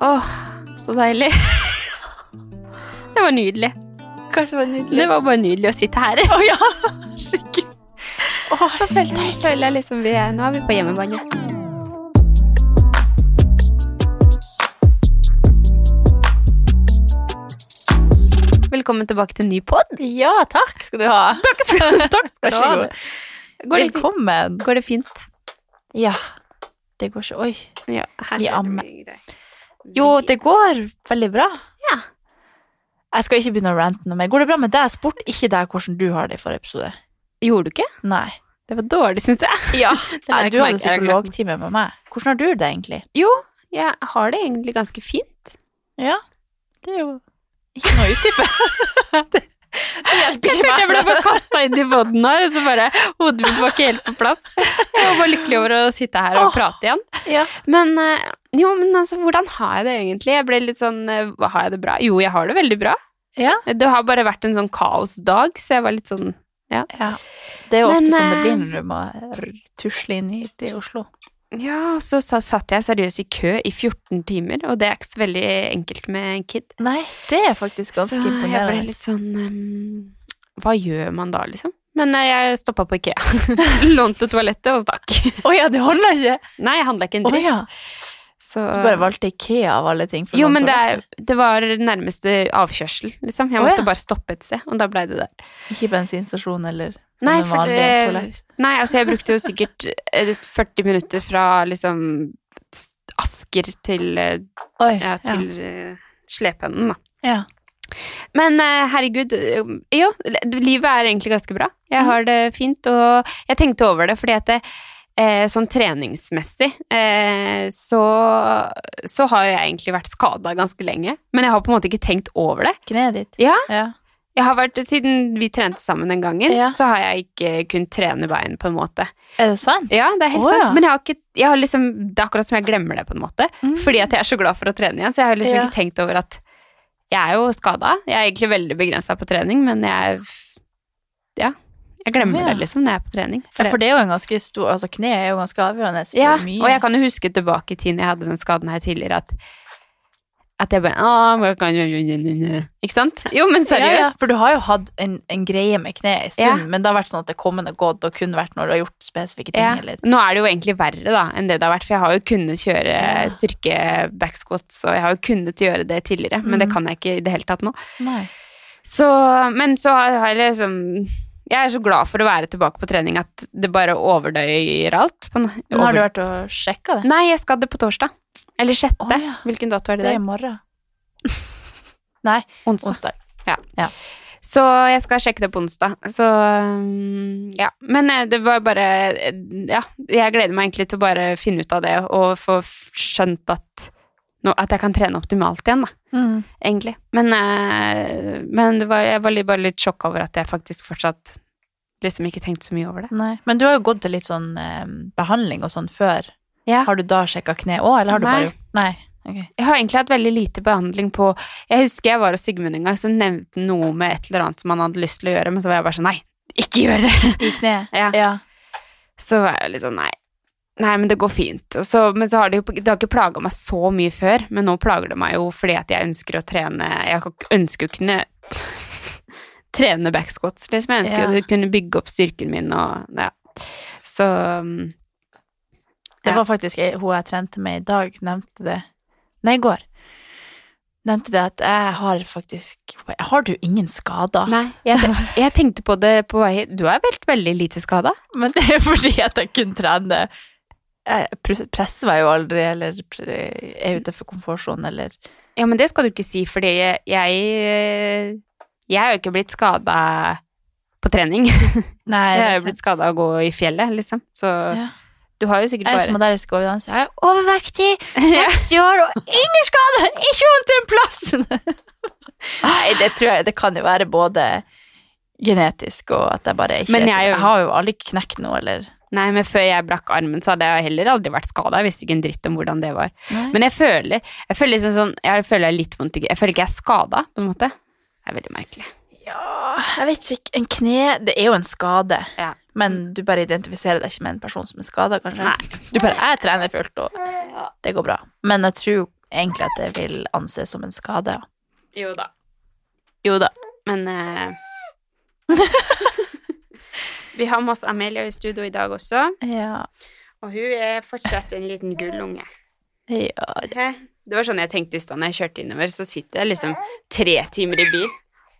Åh, så deilig. Det var nydelig. Kanskje det var nydelig. Det var bare nydelig å sitte her. Å ja! Skikkelig. Å, Nå så føler, deilig. føler jeg liksom vi er, nå er vi på hjemmebane. Velkommen tilbake til en ny podd. Ja, takk skal du ha. Takk skal, skal du ha. Går det, fint? Velkommen. går det fint? Ja. Det går så Oi. Ja, her Ja, skjer det men- mye greier. Jo, det går veldig bra. Ja. Jeg skal ikke begynne å rante noe mer. Går det bra med deg? Jeg spurte ikke deg hvordan du har det i forrige episode. Gjorde du ikke? Nei. Det var dårlig, syns jeg. Ja. Det la jeg du ikke merke til. Jeg hadde har glemt. psykologtime med meg. Hvordan har du det egentlig? Jo, jeg har det egentlig ganske fint. Ja. Det er jo ikke noe utdype. det, det hjelper Jeg ikke følte meg. jeg ble bare kasta inn i båten her, og så bare Hodet mitt var ikke helt på plass. Jeg var bare lykkelig over å sitte her og Åh. prate igjen. Ja. Men eh, jo, men altså, hvordan har jeg det egentlig? Jeg ble litt sånn eh, hva Har jeg det bra? Jo, jeg har det veldig bra. Ja. Det har bare vært en sånn kaosdag, så jeg var litt sånn ja. Det er jo Men, ofte sånn det eh, blir når du må r- tusle inn hit i Oslo. Ja, og så sa- satt jeg seriøst i kø i 14 timer, og det er ikke så veldig enkelt med en kid. Nei, det er faktisk ganske så jeg ble imponerende. litt sånn ehm, Hva gjør man da, liksom? Men eh, jeg stoppa på Ikea. Lånte toalettet og stakk. Å ja, det handla ikke! Nei, jeg handla ikke en Å dritt. ja. Så, Du bare valgte IKEA av alle ting. for jo, noen men det, er, toaletter. det var nærmeste avkjørsel, liksom. Jeg Å, måtte ja. bare stoppe et sted, og da blei det der. Ikke bensinstasjon eller sånne Nei, for vanlige det- toalett. Nei, altså, jeg brukte jo sikkert eh, 40 minutter fra liksom s- Asker til, eh, Oi, ja, til eh, Slependen, da. ja. Men eh, herregud, eh, jo, livet er egentlig ganske bra. Jeg Mhm. har det fint, og jeg tenkte over det fordi at det, eh, sånn treningsmessig eh, så, så har jo jeg egentlig vært skada ganske lenge. Men jeg har på en måte ikke tenkt over det. Kneet ditt. Ja. ja. Jeg har vært, Siden vi trente sammen den gangen, Ja. så har jeg ikke kunnet trene bein på en måte. Er det sant? Ja, det er helt Å, sant, ja. men jeg har ikke, jeg har liksom, det er akkurat som jeg glemmer det på en måte. Mm. Fordi at jeg er så glad for å trene igjen, så jeg har liksom Ja. ikke tenkt over at jeg er jo skada. Jeg er egentlig veldig begrensa på trening, men jeg f- Ja. Jeg glemmer Ja. det liksom når jeg er på trening. For Ja, det- for det er jo en ganske stor Altså, kneet er jo ganske avgjørende for ja, mye. og jeg kan jo huske tilbake i tiden jeg hadde den skaden her tidligere, at at jeg bare «Åh, hva kan jeg-» Ikke sant? Jo, men seriøst. Ja, ja, for du har jo hatt en, en greie med kneet en stund, Ja. men det har vært sånn at det kommende gått og kun vært når du har gjort spesifikke ting, Ja. eller Nå er det jo egentlig verre da, enn det det har vært, for jeg har jo kunnet kjøre Ja. styrke backsquats, og jeg har jo kunnet gjøre det tidligere, men det Mm. kan jeg ikke i det hele tatt nå. Nei. Så, men så har jeg liksom Jeg er så glad for å være tilbake på trening at det bare overdøyer alt. På, no- Men har du over- vært og sjekka det? Nei, jeg skal det på torsdag. Eller sjette. Å, ja. Hvilken dato er det? i dag? Det er i morgen. Nei, Onsdag. onsdag. Så jeg skal sjekke det på onsdag. Så um, ja. Men eh, det var bare eh, Ja, jeg gleder meg egentlig til å bare finne ut av det og få f- skjønt at nå, At jeg kan trene optimalt igjen, da. Mm. Egentlig. Men, eh, men det var, jeg var litt, bare litt sjokk over at jeg faktisk fortsatt liksom ikke tenkte så mye over det. Nei. Men du har jo gått til litt sånn eh, behandling og sånn før. Ja. Har du da sjekka kne òg, eller har du Nei. bare gjort Nei. ok. Jeg har egentlig hatt veldig lite behandling på Jeg husker jeg var hos Sigmund en gang, så nevnte han noe med et eller annet som han hadde lyst til å gjøre, men så var jeg bare sånn Nei, ikke gjør det! I kneet? Ja. ja. Så var jeg litt sånn Nei. Nei, men det går fint. Og så, men så har det jo Det har ikke plaga meg så mye før, men nå plager det meg jo fordi at jeg ønsker å trene Jeg ønsker jo å kunne trene backsquats, liksom. Jeg ønsker Ja. å kunne bygge opp styrken min og Ja. Så mm, Det Ja. var faktisk ei- hun jeg trente med i dag, nevnte det Nei, i går. Nevnte det at jeg har faktisk Jeg har jo ingen skader. Nei, jeg, jeg tenkte på det på vei hit. Du er vel veldig lite skada? Men det er fordi at jeg kun trener Jeg pr- presser meg jo aldri, eller pr- er utenfor komfortsonen, eller Ja, men det skal du ikke si, fordi jeg Jeg, jeg har jo ikke blitt skada på trening. Nei, Jeg har det er jo blitt sant. skada av å gå i fjellet, liksom. Så Ja. du har jo sikkert Jeg er som bare modellsk overdanser. Jeg er overvektig, 60 år og ingen skader! Ikke vondt en plass! Nei, det tror jeg Det kan jo være både genetisk og at jeg bare ikke Men er jeg er jo- så- jeg har jo aldri knekt noe, eller Nei, men før jeg brakk armen, så hadde jeg heller aldri vært skada. Jeg visste ikke en dritt om hvordan det var. Nei. Men jeg føler jeg føler liksom sånn Jeg føler jeg er litt vondt i Jeg føler ikke jeg er skada, på en måte. Det er veldig merkelig. Ja, jeg vet ikke. En kne Det er jo en skade. Ja. Men du bare identifiserer deg ikke med en person som er skada, kanskje? Nei. Du bare 'Jeg trener fullt, og det går bra'. Men jeg tror egentlig at det vil anses som en skade. Jo da. Jo da. Men eh, Vi har med oss Amelia i studio i dag også, Ja. og hun er fortsatt en liten gullunge. ja. Hæ? Det var sånn jeg tenkte i stad når jeg kjørte innover, så sitter jeg liksom tre timer i bil,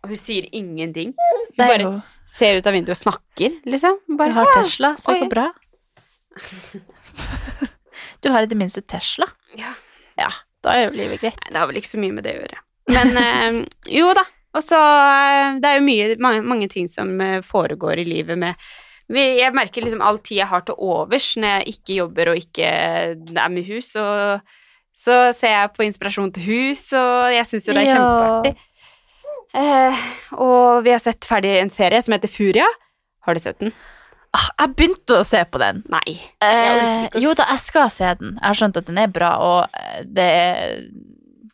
og hun sier ingenting. Hun Det er bare jo ser ut av vinduet og snakker, liksom. Du Bare, har «Ah!» Tesla, så det Oi. går bra. Du har i det minste Tesla. Ja. Ja, da er jo livet greit. Nei, det har vel ikke så mye med det å gjøre. Men eh, jo da. Og så eh, Det er jo mye, mange, mange ting som eh, foregår i livet med vi, Jeg merker liksom all tid jeg har til overs når jeg ikke jobber og ikke eh, er med hus, og så ser jeg på inspirasjon til hus, og jeg syns jo det er Ja. kjempeartig. Eh, og vi har sett ferdig en serie som heter Furia. Har du sett den? Ah, jeg begynte å se på den. Nei. Eh, Jeg orker ikke å jo se- da, jeg skal se den. Jeg har skjønt at den er bra, og eh, det er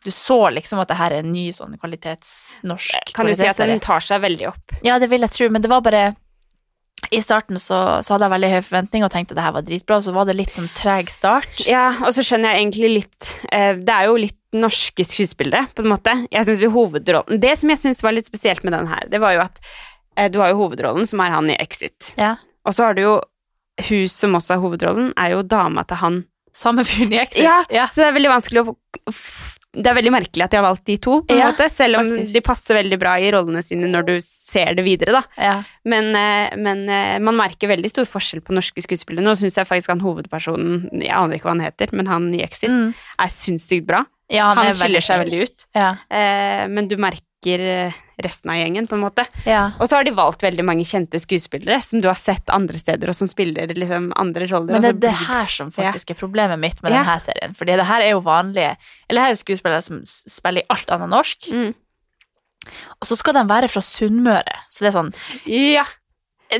Du så liksom at det her er en ny sånn kvalitetsnorsk Eh, Kan du si at kvalitetsserie. den tar seg veldig opp? Ja, det vil jeg tro, men det var bare I starten så, så hadde jeg veldig høy forventning og tenkte at det her var dritbra, og så var det litt sånn treg start. Ja, og så skjønner jeg egentlig litt eh, Det er jo litt norske skuespillere, på en måte. Jeg synes jo hovedrollen Det som jeg syns var litt spesielt med den her, det var jo at eh, du har jo hovedrollen, som er han i Exit. Ja. Og så har du jo hun som også har hovedrollen, er jo dama til han. Samme fyren i Exit. Ja, Ja. Så det er veldig vanskelig å f- Det er veldig merkelig at de har valgt de to, på en Ja, måte. Selv om faktisk. de passer veldig bra i rollene sine når du ser det videre, da. ja. Men, eh, men eh, man merker veldig stor forskjell på norske skuespillere. Nå syns jeg faktisk han hovedpersonen, jeg aner ikke hva han heter, men han i Exit, Mm. er sinnssykt bra. ja Han, skiller seg veldig ut. Ja. Eh, men du merker eh, resten av gjengen, på en måte. ja. Og så har de valgt veldig mange kjente skuespillere som du har sett andre steder, og som spiller liksom andre roller. og Men så det er det blir- her som faktisk er problemet mitt med altså, Ja. denne serien. Fordi det her er jo vanlige Eller her er jo skuespillere som s- spiller i alt annet norsk. Mm. Og så skal de være fra Sunnmøre. Så det er sånn Ja.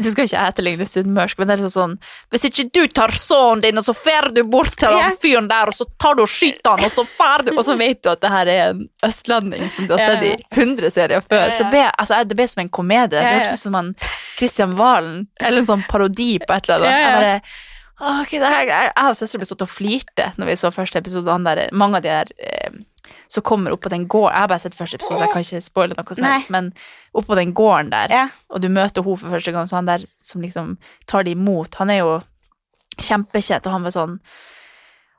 Du skal ikke etterligne sunnmørsk, men det er liksom sånn Hvis ikke du tar sønnen din, og så fer du bort til Ja. han fyren der, og så tar du og skyter han, og så fer du Og så vet du at det her er en østlending som du har Ja, sett i ja. 100 Ja, serier før. ja. Så ble, altså, jeg- det ble som en komedie. Det Ja, ja. hørtes ut som han Christian Valen, eller en sånn parodi på et eller annet. Ja, ja. Jeg bare «Å, ok, det her, jeg jeg og søsteren ble stått og flirte når vi så første episode. Han der, mange av de der eh, som kommer opp på den gården Jeg har bare sett første episode, så jeg kan ikke spoile noe som Nei. helst, men opp på den gården der ja. og du møter henne for første gang, så han der som liksom tar det imot, han er jo kjempekjent, og han var sånn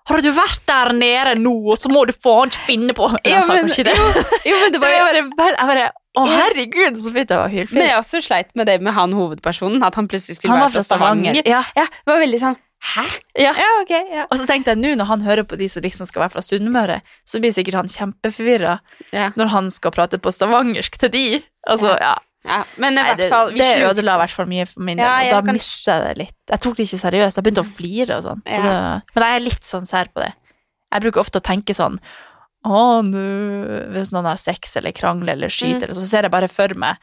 Har du vært der nede nå, og så må du faen ikke finne på Eller Ja, han sa men- kanskje det. Jo, men det Det var var jo bare, vel- jeg bare Å, herregud, så fint det var Men hylfint. jeg også sleit med det med han hovedpersonen, at han plutselig skulle Han var være fra Stavanger. Ja, Ja, det var veldig sånn Hæ? ja. Ja, ok, ja. Og så tenkte jeg nå, når han hører på de som liksom skal være fra Sunnmøre, så blir sikkert han kjempeforvirra ja. når han skal prate på stavangersk til de. Altså, ja. Ja, men i Nei, hvert det, fall vi det slukte- ødela i hvert fall mye for min del, Ja, jeg og da kan- mistet jeg det litt. Jeg tok det ikke seriøst, jeg begynte å flire og sånn. Ja. så det- Men jeg er litt sånn sær på det. Jeg bruker ofte å tenke sånn, å nå, hvis noen har sex eller krangler eller skyter, Mm. eller så ser jeg bare for meg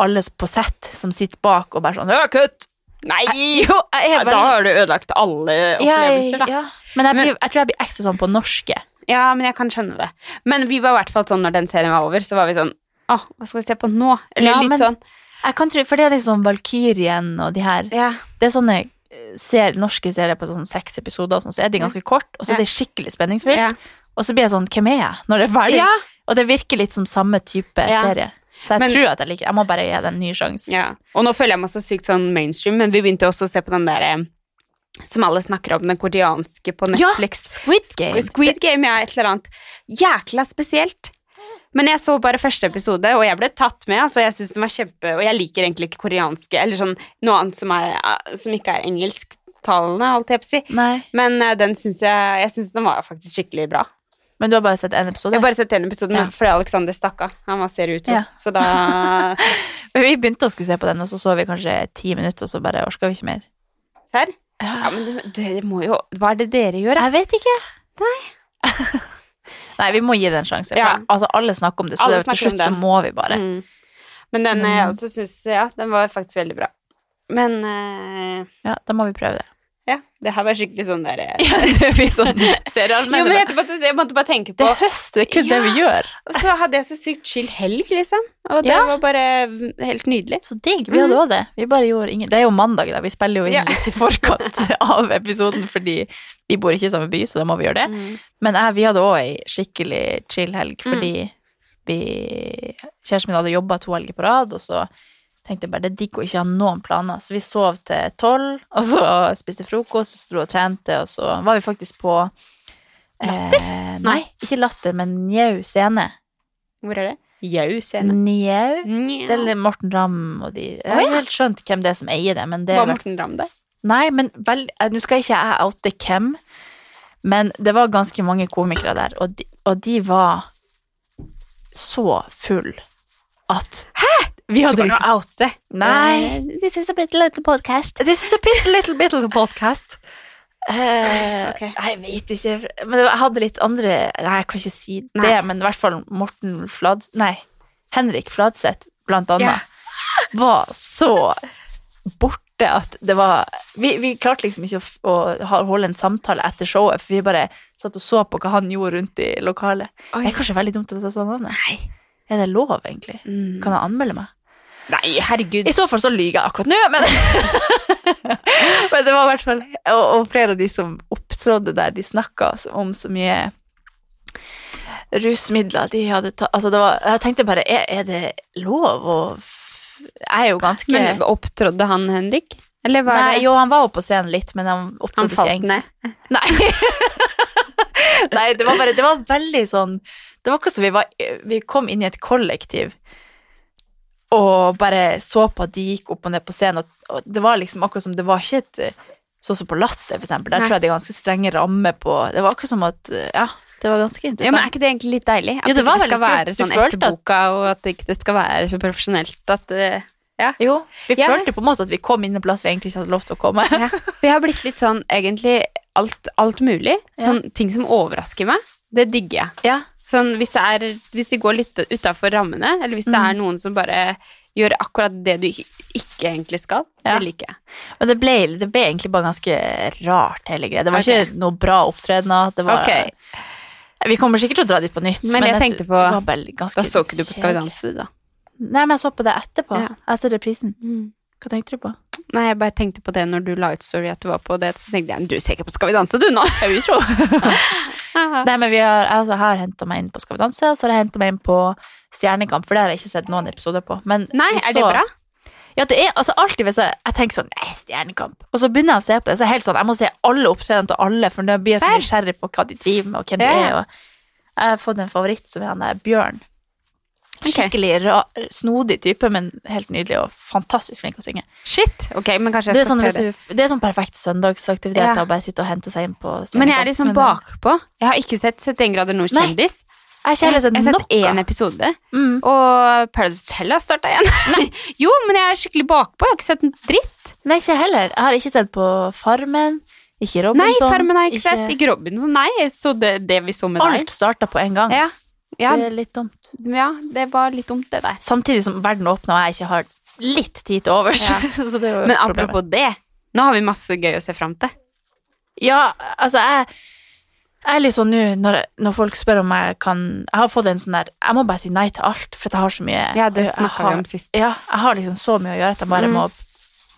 alle på sett som sitter bak og bare sånn, ja, kutt! Nei! Jo, jeg Ja, Da er veldig... har du ødelagt alle Jeg, opplevelser, da. ja. Men jeg, Men- blir, jeg tror jeg blir ekstra sånn på norske. Ja, men jeg kan skjønne det. Men vi var i hvert fall sånn når den serien var over, så var vi sånn Å, hva skal vi se på nå? Eller Ja, litt men- sånn Jeg kan tro, for det er liksom Valkyrien og de her Ja. det er sånne eh, ser, norske serier på sånn seks episoder, og sånn, så er de ganske kort, og så er det skikkelig spenningsfylt. Ja. Og så blir jeg sånn, hvem er jeg når det er ferdig? ja. Og det virker litt som samme type Ja. serie. Så jeg Men- tror at jeg liker Jeg må bare gi det en ny sjanse. ja. Og nå føler jeg meg så sykt sånn mainstream, men vi begynte også å se på den derre som alle snakker om, den koreanske på Ja, Netflix. Squid Game. Squid Game, ja, et eller annet. Jækla spesielt. Men jeg så bare første episode, og jeg ble tatt med. altså Jeg synes den var kjempe, Og jeg liker egentlig ikke koreanske eller sånn noe annet som, er, eh, som ikke er engelsktalende, holdt jeg på å si. Nei. Men eh, den syns jeg jeg synes den var faktisk skikkelig bra. Men du har bare sett én episode? Jeg har bare sett den episoden Ja. fordi Alexander stakk av. Han var ser ut, Ja. så da Men vi begynte å skulle se på den, og så så vi kanskje ti minutter, og så bare orka vi ikke mer. Serr? Ja, men det, dere må jo Hva er det dere gjør, da? Jeg vet ikke. Nei. Nei, vi må gi det en sjanse. for Ja. Altså, alle snakker om det, så Alle det- til snakker om slutt så den. må vi bare. Mm. Men den eh, jeg Mm. også syns Ja, den var faktisk veldig bra. Men eh, Ja, da må vi prøve det. Ja, det her var skikkelig sånn der eh, Ja, det blir sånn Jo, men serialmennene. jeg tenkte bare- jeg måtte bare tenke Det på er høst, det er kun det vi gjør. Og så hadde jeg så sykt chill helg, liksom. Og det Ja. var bare helt nydelig. Så digg. Vi hadde òg det. Vi bare gjorde ingen Det er jo mandag, da. Vi spiller jo inn Ja. litt i forkant av episoden, fordi vi bor ikke i samme by, så da må vi gjøre det. Mm. Men jeg, vi hadde òg ei skikkelig chill helg, fordi vi Kjæresten min hadde jobba to helger på rad, og så tenkte jeg bare det er digg å ikke ha noen planer. Så vi sov til tolv, og så spiste frokost, og så dro og trente, og så var vi faktisk på Latter? Eh, nei, ikke latter, men Njau scene. Hvor er det? Jau scene. Njau? Det Nja. er Morten Ramm og de Jeg har Å, ja. ikke helt skjønt hvem det er som eier det, men det Var er Morten Ramm der? Nei, men vel, eh, nå skal ikke jeg oute hvem, men det var ganske mange komikere der, og de, og de var så full at Hæ? Vi hadde liksom oute. Eh, Nei. This is a bit little podcast. This is a bit little bit of a podcast. Eh, Ok. nei, Jeg vet ikke Men det var- jeg hadde litt andre Nei, jeg kan ikke si det, Nei. men i hvert fall Morten Flads... Nei, Henrik Fladseth, blant annet, var så borte at det var Vi, vi klarte liksom ikke å, f- å ha- holde en samtale etter showet, for vi bare satt og så på hva han gjorde rundt i lokalet. Oi. Det er kanskje veldig dumt å ta sånn navnet. Nei. Er det lov, egentlig? Mm. Kan jeg anmelde meg? Nei, herregud. I så fall så lyver jeg akkurat nå, men Men det var i hvert fall og, og flere av de som opptrådde der, de snakka om så mye rusmidler de hadde tatt Altså, det var Jeg tenkte bare, er, er det lov å f- Jeg er jo ganske Men opptrådde han Henrik? Eller var Nei, det jo, han var oppe på scenen litt, men han han opptrådte ikke falt egentlig. ned? Nei. Nei, det var bare Det var veldig sånn Det var akkurat som vi var Vi kom inn i et kollektiv og bare så på at de gikk opp og ned på scenen, og, og det var liksom akkurat som Det var ikke et eh, Sånn som på Latter, for eksempel. Der Nei. tror jeg det er ganske strenge rammer på Det var akkurat som at eh, Ja, det var ganske Ja, men Er interessant. ikke det egentlig litt deilig? At Jo, det det var ikke skal veldig kult. være Du sånn følte etter at- boka, og at det ikke skal være så profesjonelt at eh, Ja. jo, vi Ja. følte på en måte at vi kom inn en plass vi egentlig ikke hadde lov til å komme. Ja, for jeg har blitt litt sånn egentlig alt, alt mulig. Sånn ting som overrasker meg, det digger jeg. Ja. Sånn hvis det, er, hvis det går litt utafor rammene, eller hvis det Mm. er noen som bare gjør akkurat det du ikke, ikke egentlig skal, Ja. det liker jeg. Men det ble, det ble egentlig bare ganske rart, hele greia. Det var Ok. ikke noe bra opptredener. Det var Ok. Vi kommer sikkert til å dra dit på nytt. Men jeg tenkte på- det var bare ganske Da så ikke du på Skal vi kjedelig. danse, du, da. Nei, men jeg så på det etterpå. Ja. Jeg ser reprisen. Mm. Hva tenkte du på? Nei, jeg bare tenkte på det når du la ut story at du var på det, så tenkte jeg du ser ikke på Skal vi danse, du, nå! Jeg vil tro. Nei, men vi har, altså, jeg har henta meg inn på Skal vi danse, og så har jeg henta meg inn på Stjernekamp, for det har jeg ikke sett noen episoder på. Men Nei, vi er det så- bra? Ja, det er altså alltid hvis jeg, jeg tenker sånn Nei, Stjernekamp. Og så begynner jeg å se på det, så er jeg helt sånn Jeg må se alle opptredenene til alle, for nå blir jeg så Serr? nysgjerrig på hva de driver med, og hvem de Ja. er. Og jeg har fått en favoritt som er han der Bjørn. Ok. Skikkelig ra snodig type, men helt nydelig og fantastisk flink å synge. Shit! Ok, men kanskje jeg Det er, sånn, skal hvis se det. du, det er sånn perfekt søndagsaktivitet Ja. å bare sitte og hente seg inn på Stjernekamp. Men jeg er liksom eh, bakpå. Jeg har ikke sett 71 grader nord Nei. kjendis. Jeg har ikke Jeg heller har sett jeg har noe. sett én episode, Mm. og Paradise Hotel har starta igjen. jo, men jeg er skikkelig bakpå. Jeg har ikke sett en dritt. Nei, ikke heller. Jeg har ikke sett på Farmen, ikke Robinson. Nei, Farmen har jeg ikke sånn ikke- sett. Ikke Robinson. Nei, jeg så det, det vi så med Alt starta på en gang. deg. Ja. Ja, Det er litt dumt. ja, det var litt dumt, det der. Samtidig som verden åpner og jeg ikke har litt tid til overs. Ja. så det er jo Men problemet. apropos det, nå har vi masse gøy å se fram til. Ja, altså, jeg, jeg er litt sånn nå når, jeg- når folk spør om jeg kan Jeg har fått en sånn der Jeg må bare si nei til alt, for at jeg har så mye Ja, det jeg snakka har- vi om sist. Ja, jeg har liksom så mye å gjøre at jeg bare Mm. må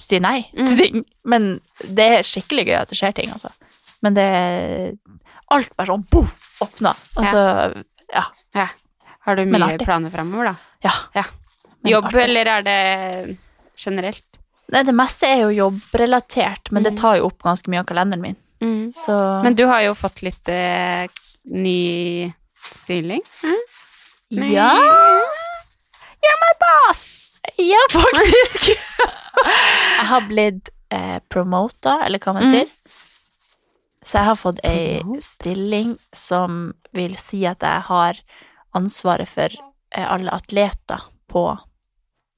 si nei til Mm. ting. Men det er skikkelig gøy at det skjer ting, altså. Men det er Alt bare sånn boom, åpna. Og Ja. så Ja. Ja. Har du Men mye artig. planer framover, da? ja. Ja. Men Jobb, artig. eller er det generelt? Nei, det meste er jo jobbrelatert, men det tar jo opp ganske mye av kalenderen min. Så Mm. Men du har jo fått litt eh, ny stilling. Ja! You're my boss! Ja, faktisk. jeg har blitt eh, promota, eller hva man Mhm. sier. Så jeg har fått ei Promota? stilling som vil si at jeg har ansvaret for eh, alle atleter på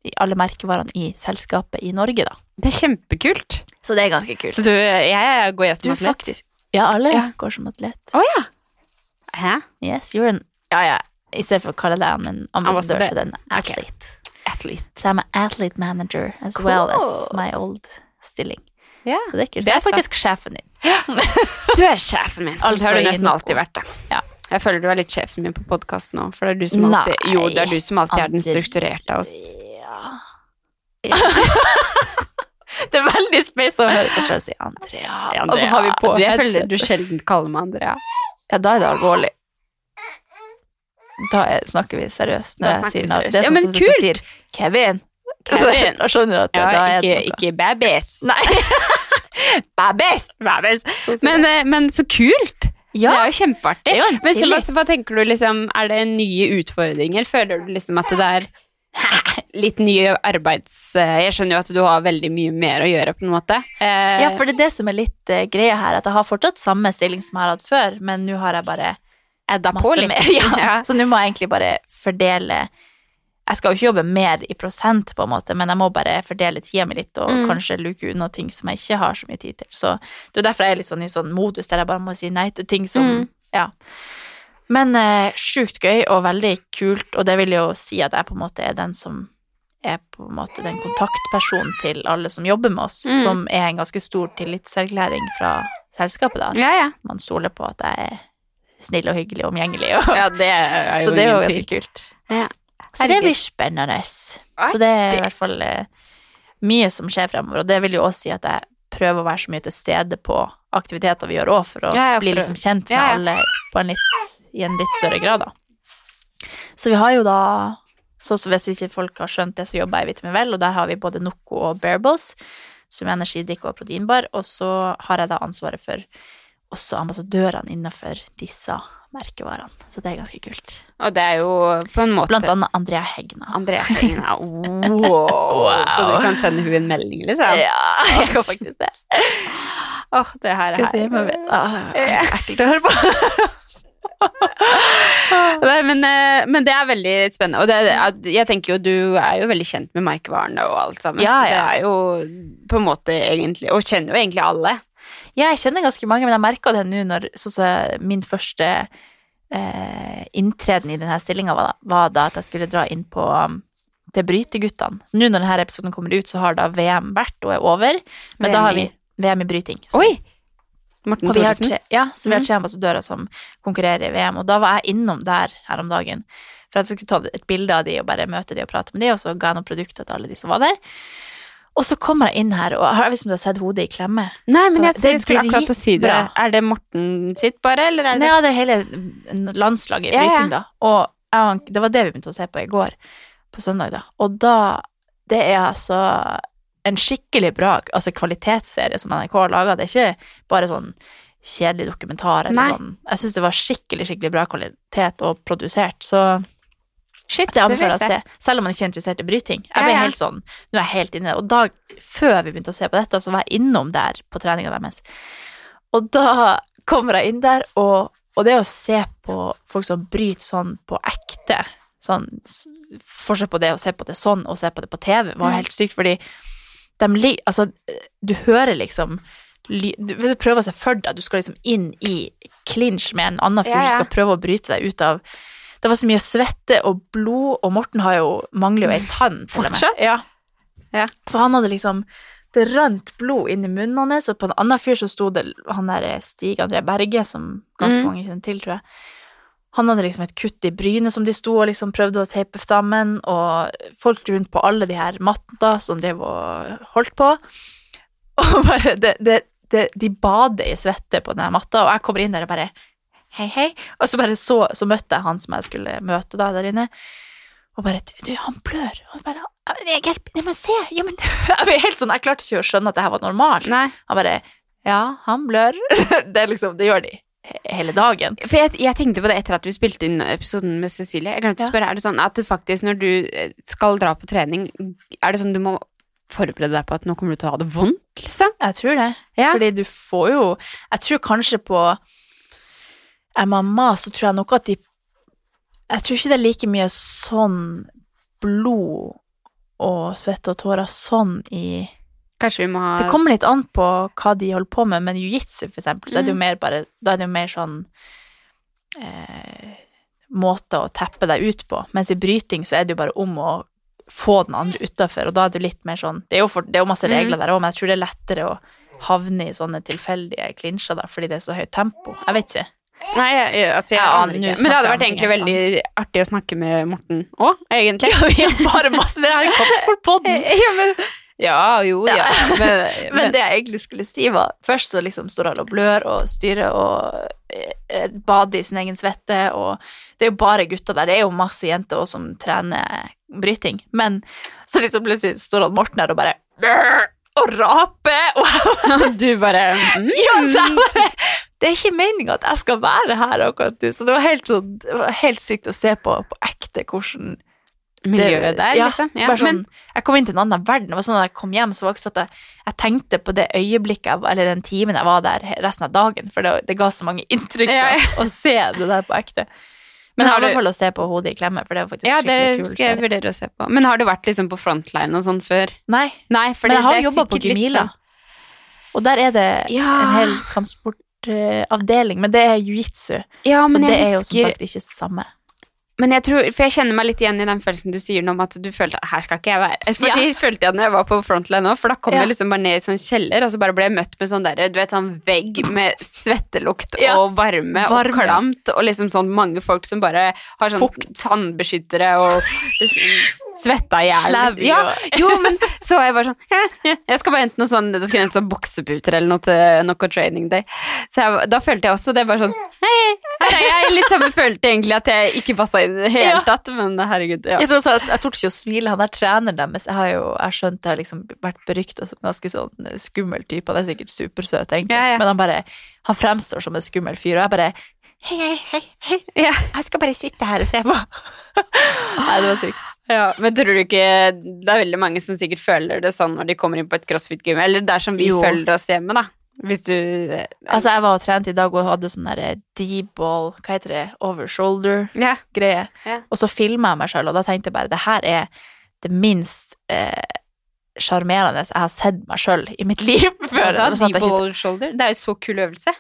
i alle merkevarene i selskapet i Norge, da. Det er kjempekult. Så det er ganske kult. Så du, jeg går jeg Du som atlet? faktisk Ja, alle Ja. går som atlet. Å ja! Hæ? Yes, you're an Ja, ja. I stedet for å kalle deg en ambassadør, Ambassadør. så er det en Ok. athlete. Athlete. So I'm an athlete manager as well as Cool. my old stilling. Ja. Så det er kult. Det Det er er faktisk sjefen din. Du er sjefen min. Altså det har du i nesten noe. alltid vært, da. Ja. Jeg føler du er litt sjefen min på podkast nå, for det er du som alltid, Nei. jo, det er, du som alltid er den strukturerte av oss. Ja. det er veldig space å høre seg sjøl si Andrea. Og så altså, har vi på du, jeg føler headset. du sjelden kaller meg Andrea. Ja, da er det alvorlig. Da er, snakker vi seriøst. Da Når jeg snakker vi sier navn. seriøst. Det er Ja, sånn men som hvis jeg sier Kevin. Så Kevin. da skjønner du at det, Ja, da ikke, er det noe. ikke babys. Nei. Babes! Babys. Men Men, eh, men så kult! ja, Det er jo kjempeartig. det er jo en Men så, tillit. hva- hva tenker du, liksom, er det nye utfordringer? Føler du liksom at det er litt nye arbeids... eh, Jeg skjønner jo at du har veldig mye mer å gjøre, på en måte. Eh, Ja, for det er det som er litt eh, greia her, at jeg har fortsatt samme stilling som jeg har hatt før, men nå har jeg bare edda på masse litt. mer. Ja. Så nå må jeg egentlig bare fordele Jeg skal jo ikke jobbe mer i prosent, på en måte, men jeg må bare fordele tida mi litt og Mm. kanskje luke unna ting som jeg ikke har så mye tid til. Så det er derfor jeg er litt sånn i sånn modus der jeg bare må si nei til ting som Mm. Ja. Men eh, sjukt gøy og veldig kult, og det vil jo si at jeg på en måte er den som er på en måte den kontaktpersonen til alle som jobber med oss, Mm. som er en ganske stor tillitserklæring fra selskapet, da. At Ja, ja. man stoler på at jeg er snill og hyggelig og omgjengelig. Og, Ja, det er jo så det er jo ingen tvil. ganske kult. Ja. Så det blir spennende. Så det er i hvert fall eh, mye som skjer fremover, og det vil jo også si at jeg prøver å være så mye til stede på aktiviteter vi gjør òg, for å Ja, ja, bli for å- liksom kjent med Ja, ja. alle på en litt, i en litt større grad, da. Så vi har jo da Sånn som hvis ikke folk har skjønt det, så jobber jeg i Vitamin Vel, og der har vi både Noco og Bearables, som er energidrikk og proteinbar, og så har jeg da ansvaret for også ambassadørene innenfor disse merkevarene. Så det er ganske kult. Og det er jo på en måte Blant annet Andrea Hegna. Andrea Tegna. Wow. Så du kan sende hun en melding, liksom? Ja, jeg kan faktisk det. Åh, det her er Ah, Ja. Ah, ekkelt å høre på. Nei, men, eh, men det er veldig spennende. Og det, er- jeg tenker jo du er jo veldig kjent med merkevarene og alt sammen. Ja, Så det ja. er jo på en måte egentlig Og kjenner jo egentlig alle. Ja, jeg kjenner ganske mange, men jeg merka det nå når sånn som min første eh, inntreden i denne stillinga var, da- var da at jeg skulle dra inn på um, til Bryteguttene. Så Nå når denne episoden kommer ut, så har da VM vært og er over. Men da VM har vi i- VM i bryting. Så- Oi! Morten Og vi har Thoresen. tre, ja, så vi har tre ambassadører som konkurrerer i VM, og da var jeg innom der her om dagen. For at jeg skulle ta et bilde av de og bare møte de og prate med de, og så ga jeg noen produkter til alle de som var der. Og så kommer jeg inn her, og jeg vet ikke om du har liksom sett hodet i klemme. Nei, men jeg, Det er jeg skulle akkurat til å si det. dritbra. Er det Morten sitt, bare? Eller er det Nei, ja, det er hele landslaget i Ja, ja. bryting, da. Og jeg og han- det var det vi begynte å se på i går, på søndag, da. Og da Det er altså en skikkelig bra altså kvalitetsserie som NRK har laga. Det er ikke bare sånn kjedelig dokumentar eller Nei. sånn. Jeg syns det var skikkelig, skikkelig bra kvalitet og produsert, så Shit, det vil jeg anbefaler jeg å se. Selv om man ikke er interessert i bryting. Jeg Ja, ble ja. helt sånn, nå er jeg helt inne. Og da, før vi begynte å se på dette, så var jeg innom der på treninga deres. Og da kommer jeg inn der, og, og det å se på folk som bryter sånn på ekte, sånn s- forskjell på det å se på det sånn og se på det på TV, var Mm. helt sykt, fordi de li- altså, du hører liksom ly- du, du prøver å se for deg, at du skal liksom inn i clinch med en annen fyr Ja, ja. som skal prøve å bryte deg ut av Det var så mye svette og blod, og Morten har jo, mangler jo ei tann. til og med. Fortsatt? Ja. Ja. Så han hadde liksom Det rant blod inn i munnen hans, og på en annen fyr så sto det han der eh, Stig André Berge, som ganske Mhm. mange kjenner til, tror jeg. Han hadde liksom et kutt i brynet som de sto og liksom prøvde å teipe sammen, og folk rundt på alle de her matta som drev og holdt på. Og bare det, det, det, De bader i svette på den her matta, og jeg kommer inn der og bare Hei, hei. Og så bare så, så møtte jeg han som jeg skulle møte da, der inne. Og bare Du, du, han blør. Og bare «Jeg Hjelp! Nei, men se! Ja, men Jeg ble helt sånn, jeg klarte ikke å skjønne at det her var normalt. Nei. Han bare Ja, han blør. Det er liksom Det gjør de he- hele dagen. For jeg, jeg tenkte på det etter at vi spilte inn episoden med Cecilie. Jeg glemte Ja. å spørre, er det sånn at det faktisk når du eh, skal dra på trening, er det sånn du må forberede deg på at nå kommer du til å ha det vondt, liksom? Jeg tror det. Ja. Fordi du får jo Jeg tror kanskje på MMA så tror jeg nok at de Jeg tror ikke det er like mye sånn blod og svette og tårer sånn i Kanskje vi må ha Det kommer litt an på hva de holder på med, men jiu-jitsu, for eksempel, så er det jo Mm. mer bare Da er det jo mer sånn eh, Måte å teppe deg ut på. Mens i bryting så er det jo bare om å få den andre utafor, og da er det jo litt mer sånn Det er jo, for, det er jo masse Mm. regler der òg, men jeg tror det er lettere å havne i sånne tilfeldige klinsjer, da, fordi det er så høyt tempo. Jeg vet ikke. Nei, jeg, jeg, altså, jeg Ja, aner nå ikke. snakker Men det hadde jeg om vært ting egentlig jeg ikke sånn. veldig artig å snakke med Morten òg, egentlig. Vi har bare masse Det her er Kappsportpodden! Ja, men, ja, jo, ja. Men, Men det jeg egentlig skulle si var Først så liksom står alle og blør og styrer og eh, eh, bader i sin egen svette og Det er jo bare gutter der. Det er jo masse jenter også som trener bryting. Men så liksom plutselig står han Morten her og bare "Brr!" og raper, og jeg men du bare mm. ja, så jeg bare Det er ikke meninga at jeg skal være her akkurat nå. Så det var helt, sånn, det var helt sykt å se på på ekte hvordan Miljøet der, ja, liksom. Ja, bare sånn, men, jeg kom inn til en annen verden. Det var sånn at jeg kom hjem, så var det ikke sånn at jeg, jeg tenkte på det øyeblikket, jeg, var- eller den timen jeg var der resten av dagen, for det, det ga så mange inntrykk da, Ja, ja. å se det der på ekte. Men Men, har i du- hvert fall å se på hodet i klemme, for det var faktisk ja, det skikkelig kul skal jeg serie. vurdere å se på. Men har du vært liksom på frontline og sånn før? Nei, Nei, for men det, jeg har det er jobba på sikkert litt Gumila, sånn- og der er det Ja. en hel kampsportavdeling, men det er jiu-jitsu, Ja, og men det jeg er jo som husker sagt ikke samme. Men jeg tror, for jeg kjenner meg litt igjen i den følelsen du sier nå om at du følte at her skal ikke jeg være. For Ja. det følte jeg når jeg var på Frontline òg, for da kom Ja. jeg liksom bare ned i sånn kjeller, og så bare ble jeg møtt med sånn derre, du vet sånn vegg med svettelukt Ja. og varme, og Varme. klamt, og liksom sånn mange folk som bare har sånn Fukt. tannbeskyttere og liksom svetta i hjel. Slabby Ja, og- jo, men så var jeg bare sånn «Hæ, hæ, Jeg skal bare hente noe sånn, det skal hente sånn bokseputer eller noe til noe training day. Så jeg, da følte jeg også det bare sånn Hei, her er jeg. Litt samme følte egentlig at jeg ikke passa inn i det hele Ja. tatt, men herregud. Ja. Jeg, tror også at, jeg torde ikke å smile. Han der treneren deres, jeg har jo jeg har skjønt det har liksom vært berykta som ganske sånn skummel type. Han er sikkert supersøt, egentlig, Ja, ja. men han bare han fremstår som en skummel fyr. Og jeg bare Hei, hei, hei, hei. Ja. jeg skal bare sitte her og se på. Nei, det var sykt. Ja, men tror du ikke det er veldig mange som sikkert føler det sånn når de kommer inn på et crossfit-gym, eller der som vi Jo. følger oss hjemme, da? Hvis du eh, Altså, jeg var og trente i dag og hadde sånn derre D-ball, hva heter det, over shoulder ja. greie. Ja. Og så filma jeg meg sjøl, og da tenkte jeg bare det her er det minst eh, sjarmerende jeg har sett meg sjøl i mitt liv før. Da, Sånn at jeg deep ikke- wall shoulder. Det er jo så kul øvelse.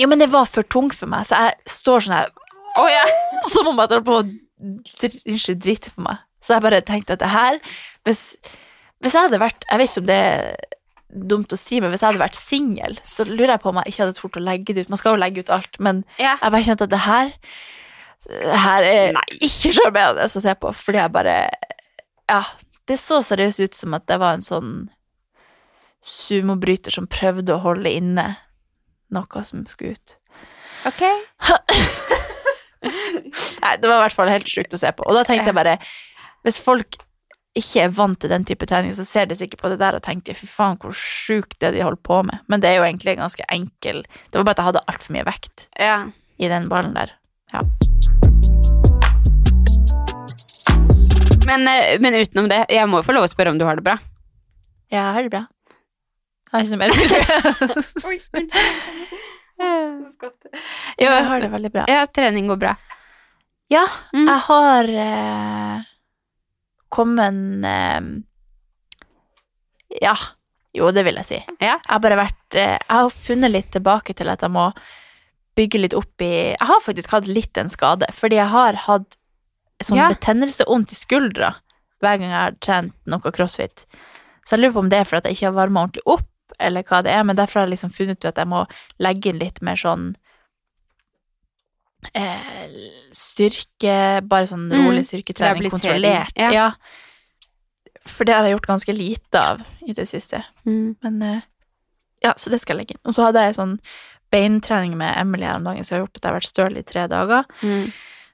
Jo, men det var for tung for meg, så jeg står sånn her oh, ja. Som om jeg holdt på å dr- Unnskyld, drite på meg. Så jeg bare tenkte at det her Hvis, hvis jeg hadde vært Jeg vet ikke om det er dumt å si, men hvis jeg hadde vært singel, så lurer jeg på om jeg ikke hadde tort å legge det ut. Man skal jo legge ut alt, men Ja. jeg bare kjente at det her Det her er Nei. ikke sjarmerende å se på, fordi jeg bare Ja. Det så seriøst ut som at det var en sånn sumobryter som prøvde å holde inne noe som skulle ut. Ok. Nei, det var i hvert fall helt sjukt å se på. Og da tenkte jeg bare Hvis folk ikke er vant til den type trening, så ser de sikkert på det der og tenker fy faen, hvor sjukt det de holder på med. Men det er jo egentlig ganske enkel Det var bare at jeg hadde altfor mye vekt Ja. i den ballen der. Men, eh, men utenom det, jeg må jo få lov å spørre om du har det bra. Ja, har det bra. Jeg har ikke noe mer å si. Oi, Jo, Jeg har det veldig bra. ja, trening går bra. Ja, Mm. jeg har eh, kommet eh, Ja, jo, det vil jeg si. Ja. Jeg har bare vært eh, Jeg har funnet litt tilbake til at jeg må bygge litt opp i Jeg har faktisk hatt litt en skade, fordi jeg har hatt sånn Ja. betennelse vondt i skuldra hver gang jeg har trent noe crossfit. Så jeg lurer på om det er fordi jeg ikke har varma ordentlig opp, eller hva det er, men derfor har jeg liksom funnet ut at jeg må legge inn litt mer sånn eh, styrke, bare sånn Mm. rolig styrketrening, Rehabilitering, kontrollert. ja. Ja. For det har jeg gjort ganske lite av i det siste. Mm. Men eh, ja, så det skal jeg legge inn. Og så hadde jeg sånn beintrening med Emily her om dagen, så jeg har gjort at jeg har vært støl i tre dager.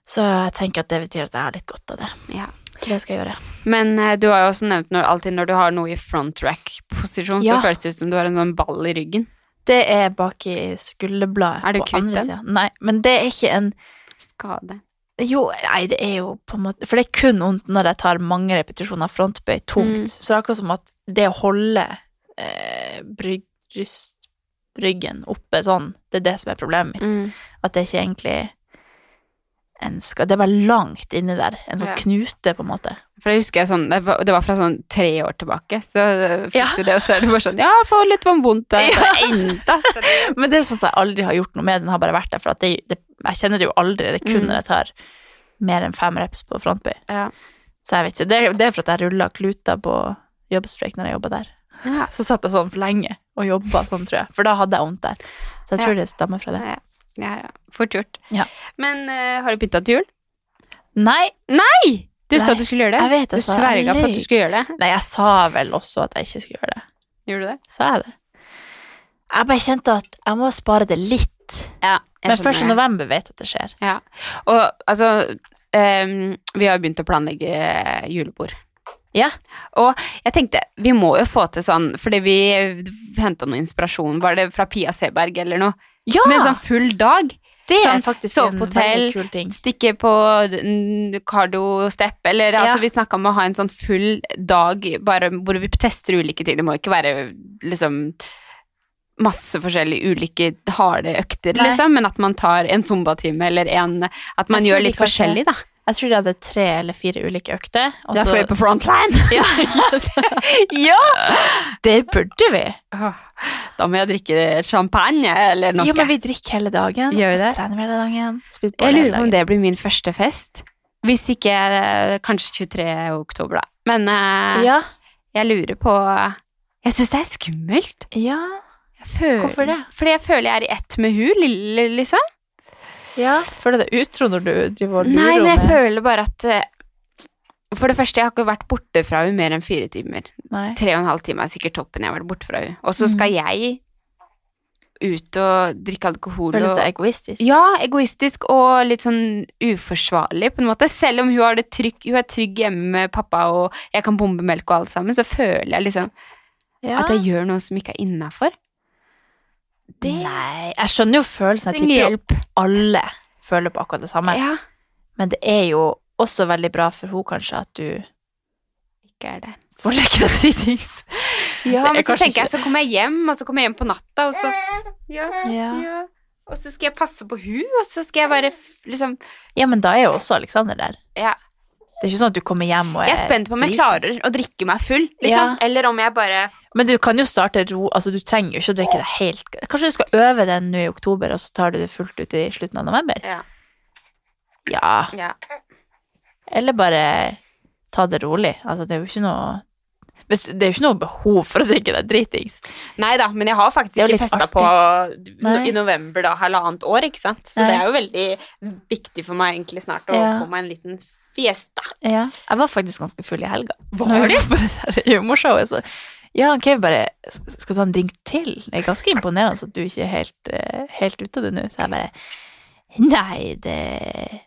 Så jeg tenker at det betyr at jeg har litt godt av det. Ja. Så det skal jeg gjøre. Men eh, du har jo også nevnt når, alltid når du har noe i front rack-posisjon, så Ja. føles det ut som du har en sånn ball i ryggen. Det er bak i skulderbladet. Er du på kvitt andre den? siden. Nei, men det er ikke en Skade. Jo, nei, det er jo på en måte For det er kun vondt når jeg tar mange repetisjoner frontbøy tungt. Mm. Så det er akkurat som at det å holde eh, bryg, bryst, ryggen oppe sånn, det er det som er problemet mitt. Mm. At det er ikke egentlig en skade. Det er bare langt inni der. En sånn Ja. knute, på en måte. For jeg husker jeg sånn, det var, det var fra sånn tre år tilbake, så eh, fikk Ja. du det, og så er det bare sånn, ja, få litt vann vondt der. Ja. Enda. Så det, Men det er sånn som jeg aldri har gjort noe med. Den har bare vært der. For at det, det, jeg kjenner det jo aldri. Det er kun Mm. når jeg tar mer enn fem reps på frontbøy. ja. Så jeg vet ikke. Det, er- det er for at jeg rulla kluter på jobbsprek når jeg jobba der. Ja. Så satt jeg sånn for lenge, og jobba sånn, tror jeg. For da hadde jeg vondt der. Så jeg Ja. tror det stammer fra det. Ja, ja, ja. Fort gjort. Ja. Men eh, har du pynta til jul? Nei, Nei! Du sa Nei, at du skulle gjøre det. jeg vet Du jeg sa sverga på at du løy. skulle gjøre det. Nei, jeg sa vel også at jeg ikke skulle gjøre det. Gjorde du det? Sa jeg det? Jeg bare kjente at jeg må spare det litt. Ja, jeg Men først i skjønner. november vet jeg at det skjer. Og altså ehm, Vi har begynt å planlegge eh, julebord. Ja. Og jeg tenkte, vi må jo få til sånn, fordi vi henta noe inspirasjon, var det fra Pia Seberg eller noe? Ja! Med sånn full dag. det sånn, er faktisk sove en på hotell, veldig kul ting. Stikke på mm, cardio step, eller Ja. altså vi snakka om å ha en sånn full dag bare hvor vi tester ulike ting. Det må ikke være liksom masse forskjellige ulike harde økter, Nei. liksom, men at man tar en zumbatime eller en At man Jeg tror gjør de litt kanskje- forskjellig, da. Jeg tror de hadde tre eller fire ulike økter. og Da så- skal vi på frontline! Ja. ja! Det burde vi. Da må jeg drikke champagne eller noe. Jo, men vi drikker hele dagen. Gjør vi og det? så trener vi hele dagen. Spiser Jeg bolle hele lurer på om dagen. det blir min første fest. Hvis ikke eh, kanskje 23. oktober, da. Men eh, Ja. jeg lurer på Jeg syns det er skummelt. ja. Jeg føler, Hvorfor det? Fordi jeg føler jeg er i ett med hun, lille, liksom. ja. Føler du deg utro når du driver og lurer Nei, men jeg med- føler bare at eh, For det første, jeg har ikke vært borte fra hun mer enn fire timer. Nei. Tre og en halv time er sikkert toppen jeg har vært borte fra hun. Og så skal jeg ut og drikke alkohol Føles og det egoistisk? Ja, egoistisk og litt sånn uforsvarlig på en måte. Selv om hun, har det trygg, hun er trygg hjemme med pappa, og jeg kan bombe melk og alt sammen, så føler jeg liksom Ja. at jeg gjør noe som ikke er innafor. Det Nei, jeg skjønner jo følelsen. Jeg trenger tipper jo hjelp. alle føler på akkurat det samme. Ja, Men det er jo også veldig bra for henne kanskje at du ikke er det. får drikke deg dritings. Ja, Det er men så kanskje tenker jeg, så kommer jeg hjem, og så kommer jeg hjem på natta, og så ja, ja. Ja. Og så skal jeg passe på hun, og så skal jeg være f- liksom Ja, men da er jo også Alexander der. Ja. Det er ikke sånn at du kommer hjem og Jeg er spent på om jeg klarer dritings. å drikke meg full, liksom. Ja. Eller om jeg bare Men du kan jo starte ro Altså, du trenger jo ikke å drikke deg helt Kanskje du skal øve den nå i oktober, og så tar du det fullt ut i slutten av november? Ja. Ja. ja. Eller bare ta det rolig. Altså, det er jo ikke noe Hvis- Det er jo ikke noe behov for å drikke deg dritings. Nei da, men jeg har faktisk Det er jo ikke litt festa artig. på Nei. i november, da, halvannet år, ikke sant. Så Nei. det er jo veldig viktig for meg egentlig snart å Ja. få meg en liten fiesta. Ja. Jeg var faktisk ganske full i helga. Var du? På det der humorshowet, så ja, han Kevin bare "Sk- Skal du ha en drink til? Det er ganske imponerende at du ikke er helt, eh, helt ute av det nå. Så jeg bare Nei, det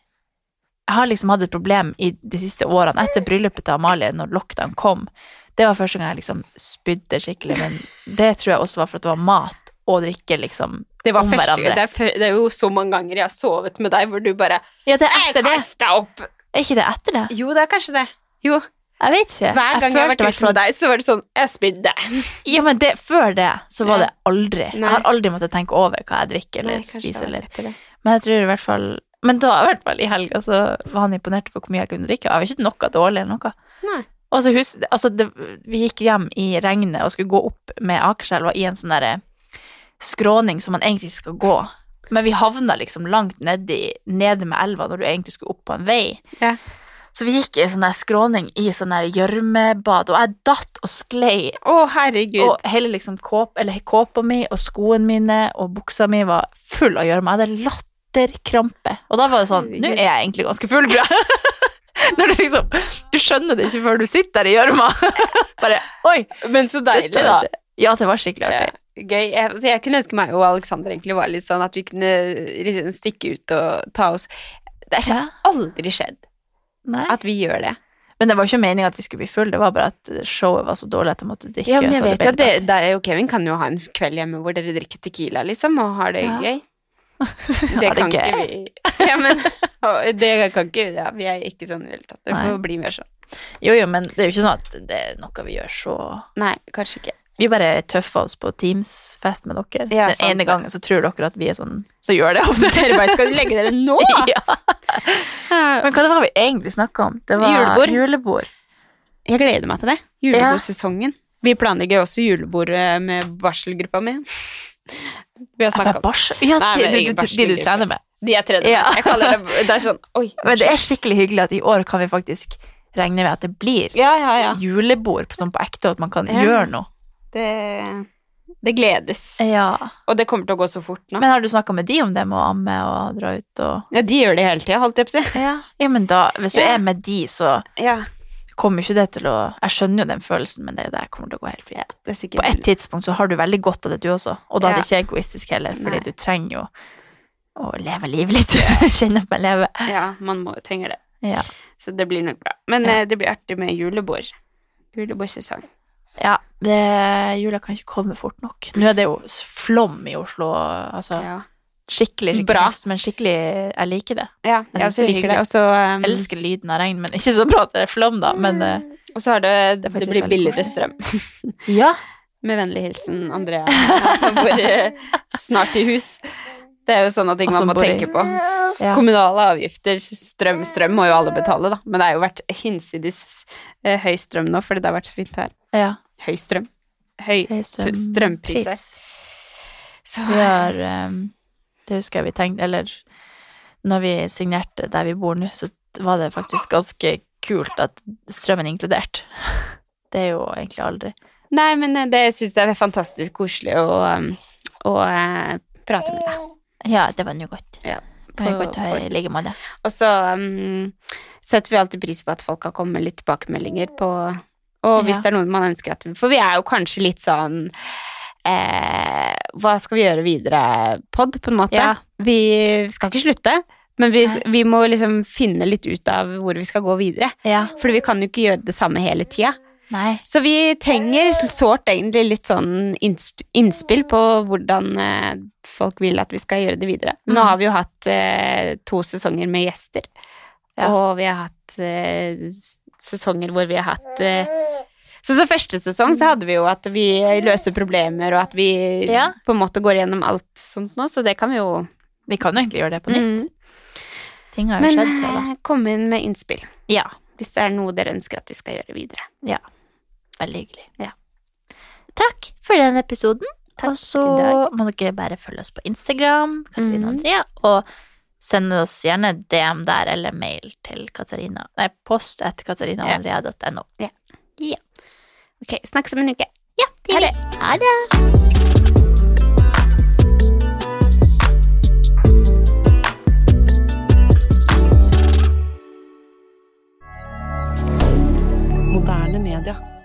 Jeg har liksom hatt et problem i de siste årene etter bryllupet til Amalie, når lockdown kom. Det var første gang jeg liksom spydde skikkelig, men det tror jeg også var for at det var mat og drikke, liksom. Det var Om første, hverandre. det, er, fø- det er jo så mange ganger jeg har sovet med deg hvor du bare Ja, det er Jeg etter det. kasta opp! Er ikke det etter det? Jo, det er kanskje det. Jo. Jeg vet ikke. Hver gang jeg, har følte vært i hvert ute fall med deg, så var det sånn Jeg spydde. Ja, men det, før det så var Ja. det aldri. Nei. Jeg har aldri måttet tenke over hva jeg drikker eller Nei, kanskje det spiser. var Eller. etter det. Men jeg tror i hvert fall Men da i hvert fall i helga så var han imponert over hvor mye jeg kunne drikke. Jeg var ikke noe dårlig eller noe. Nei. Og så hus, altså det, vi gikk hjem i regnet og skulle gå opp med Akerselva i en sånn derre skråning som man egentlig ikke skal gå. Men vi havna liksom langt nedi, nede med elva når du egentlig skulle opp på en vei. Ja. Så vi gikk i sånn der skråning i sånn der gjørmebad, og jeg datt og sklei Å, herregud. og hele liksom kåp, eller kåpa mi og skoene mine og buksa mi var full av gjørme. Jeg hadde latterkrampe. Og da var det sånn Nå er jeg egentlig ganske full, tror jeg. Når du liksom Du skjønner det ikke før du sitter der i gjørma. Bare Oi! men så deilig, dette da. var- Ja, det var skikkelig artig. Gøy. Jeg, altså, jeg kunne ønske meg og Alexander egentlig var litt sånn at vi kunne liksom stikke ut og ta oss Det har Ja, aldri skjedd nei. at vi gjør det. Men det var ikke meninga at vi skulle bli full, det var bare at showet var så dårlig at jeg måtte drikke. Ja, men jeg så det vet ble jo at det, litt det er jo Kevin kan jo ha en kveld hjemme hvor dere drikker tequila, liksom, og har det Ja. gøy. det Det er kan gøy. ikke vi Ja, men og det kan ikke ja, Vi er ikke sånn i det hele tatt. Det får Nei. bli mer sånn. artig. Jo, jo, men det er jo ikke sånn at det er noe vi gjør så Nei, kanskje ikke. Vi bare tøffer oss på Teams-fest med dere. Ja, Den sant ene det. gangen så tror dere at vi er sånn, så gjør det ofte. Dere bare skal legge dere nå! ja. Men hva det var vi egentlig snakka om? Det var Julebord. julebord. Jeg gleder meg til det. Ja. Julebordsesongen. Vi planlegger også julebord eh, med barselgruppa mi. Vi har snakka Bare barsel. Ja, Nei, men de, ingen du, du, barsel, de du ikke. trener med. De er tredje. Ja. Jeg kaller det Det er sånn Oi. Men det er skikkelig hyggelig at i år kan vi faktisk regne med at det blir Ja, ja, ja. julebord på, sånn på ekte, og at man kan Ja. gjøre noe. Det Det gledes. Ja. Og det kommer til å gå så fort nå. Men har du snakka med de om det med å amme og dra ut og Ja, de gjør det hele tida, holdt jeg på å si. Ja, men da Hvis du Ja. er med de, så Ja, kommer ikke det til å Jeg skjønner jo den følelsen, men det der kommer til å gå helt fint. det er sikkert På et tidspunkt så har du veldig godt av det, du også. Og da er det ikke egoistisk heller, fordi Nei. du trenger jo å leve livet litt. Kjenne på livet. Ja, man må, trenger det. Ja. Så det blir nok bra. Men Ja. eh, det blir artig med julebord. Julebordsesong. ja det, jula kan ikke komme fort nok. Nå er det jo flom i Oslo. Altså, Ja. Skikkelig, skikkelig Bra. fest, men skikkelig Jeg liker det. Ja, jeg Jeg synes også det er liker det. hyggelig. Og så um, Jeg elsker lyden av regn, men ikke så bra at det er flom, da. Men eh, og så har det, Det er det, faktisk blir veldig billigere koselig. strøm. ja. Med vennlig hilsen Andrea, som bor eh, snart i hus. Det er jo sånne ting Og man som må bor i- tenke på. ja. Kommunale avgifter, strøm, strøm må jo alle betale, da. Men det har jo vært hinsides eh, høy strøm nå, fordi det har vært så fint her. ja. Høy strøm. Høy Det er strøm- strømpriser. pris. Så Vi har ehm, Det husker jeg vi tenkte Eller når vi signerte der vi bor nå, så var det faktisk ganske kult at strømmen er inkludert. Det er jo egentlig aldri Nei, men eh, det syns jeg er fantastisk koselig å, um, å eh, prate med deg. Ja, det var nå godt. Ja, Det var på- godt å høre i like måte. Og så um, setter vi alltid pris på at folk har kommet med litt tilbakemeldinger på Og hvis Ja. det er noen man ønsker at For vi er jo kanskje litt sånn eh, Hva skal vi gjøre videre-pod, på en måte. Ja. Vi skal ikke slutte, men vi, Nei. vi må liksom finne litt ut av hvor vi skal gå videre. Ja. Fordi vi kan jo ikke gjøre det samme hele tida. Nei. Så vi trenger sårt egentlig litt sånn inns- innspill på hvordan eh, folk vil at vi skal gjøre det videre. Nå Mhm. har vi jo hatt eh, to sesonger med gjester, Ja. og vi har hatt eh, sesonger hvor vi har hatt eh, så så første sesong så hadde vi jo at vi løser problemer, og at vi Ja. på en måte går gjennom alt sånt nå, så det kan vi jo Vi kan jo egentlig gjøre det på nytt. Mm. Ting har jo Men skjedd, så da. eh, kom inn med innspill Ja. hvis det er noe dere ønsker at vi skal gjøre videre. Veldig hyggelig. Ja. Takk for den episoden. Takk og så i dag. må dere bare følge oss på Instagram, Katarina Mhm. og Andrea, og sende oss gjerne DM der, eller mail til Katarina. Nei, post etter katarinaandrea.no. Ok, snakkes om en uke. Ja, det Ha gjør det. vi. Ha det! Moderne media.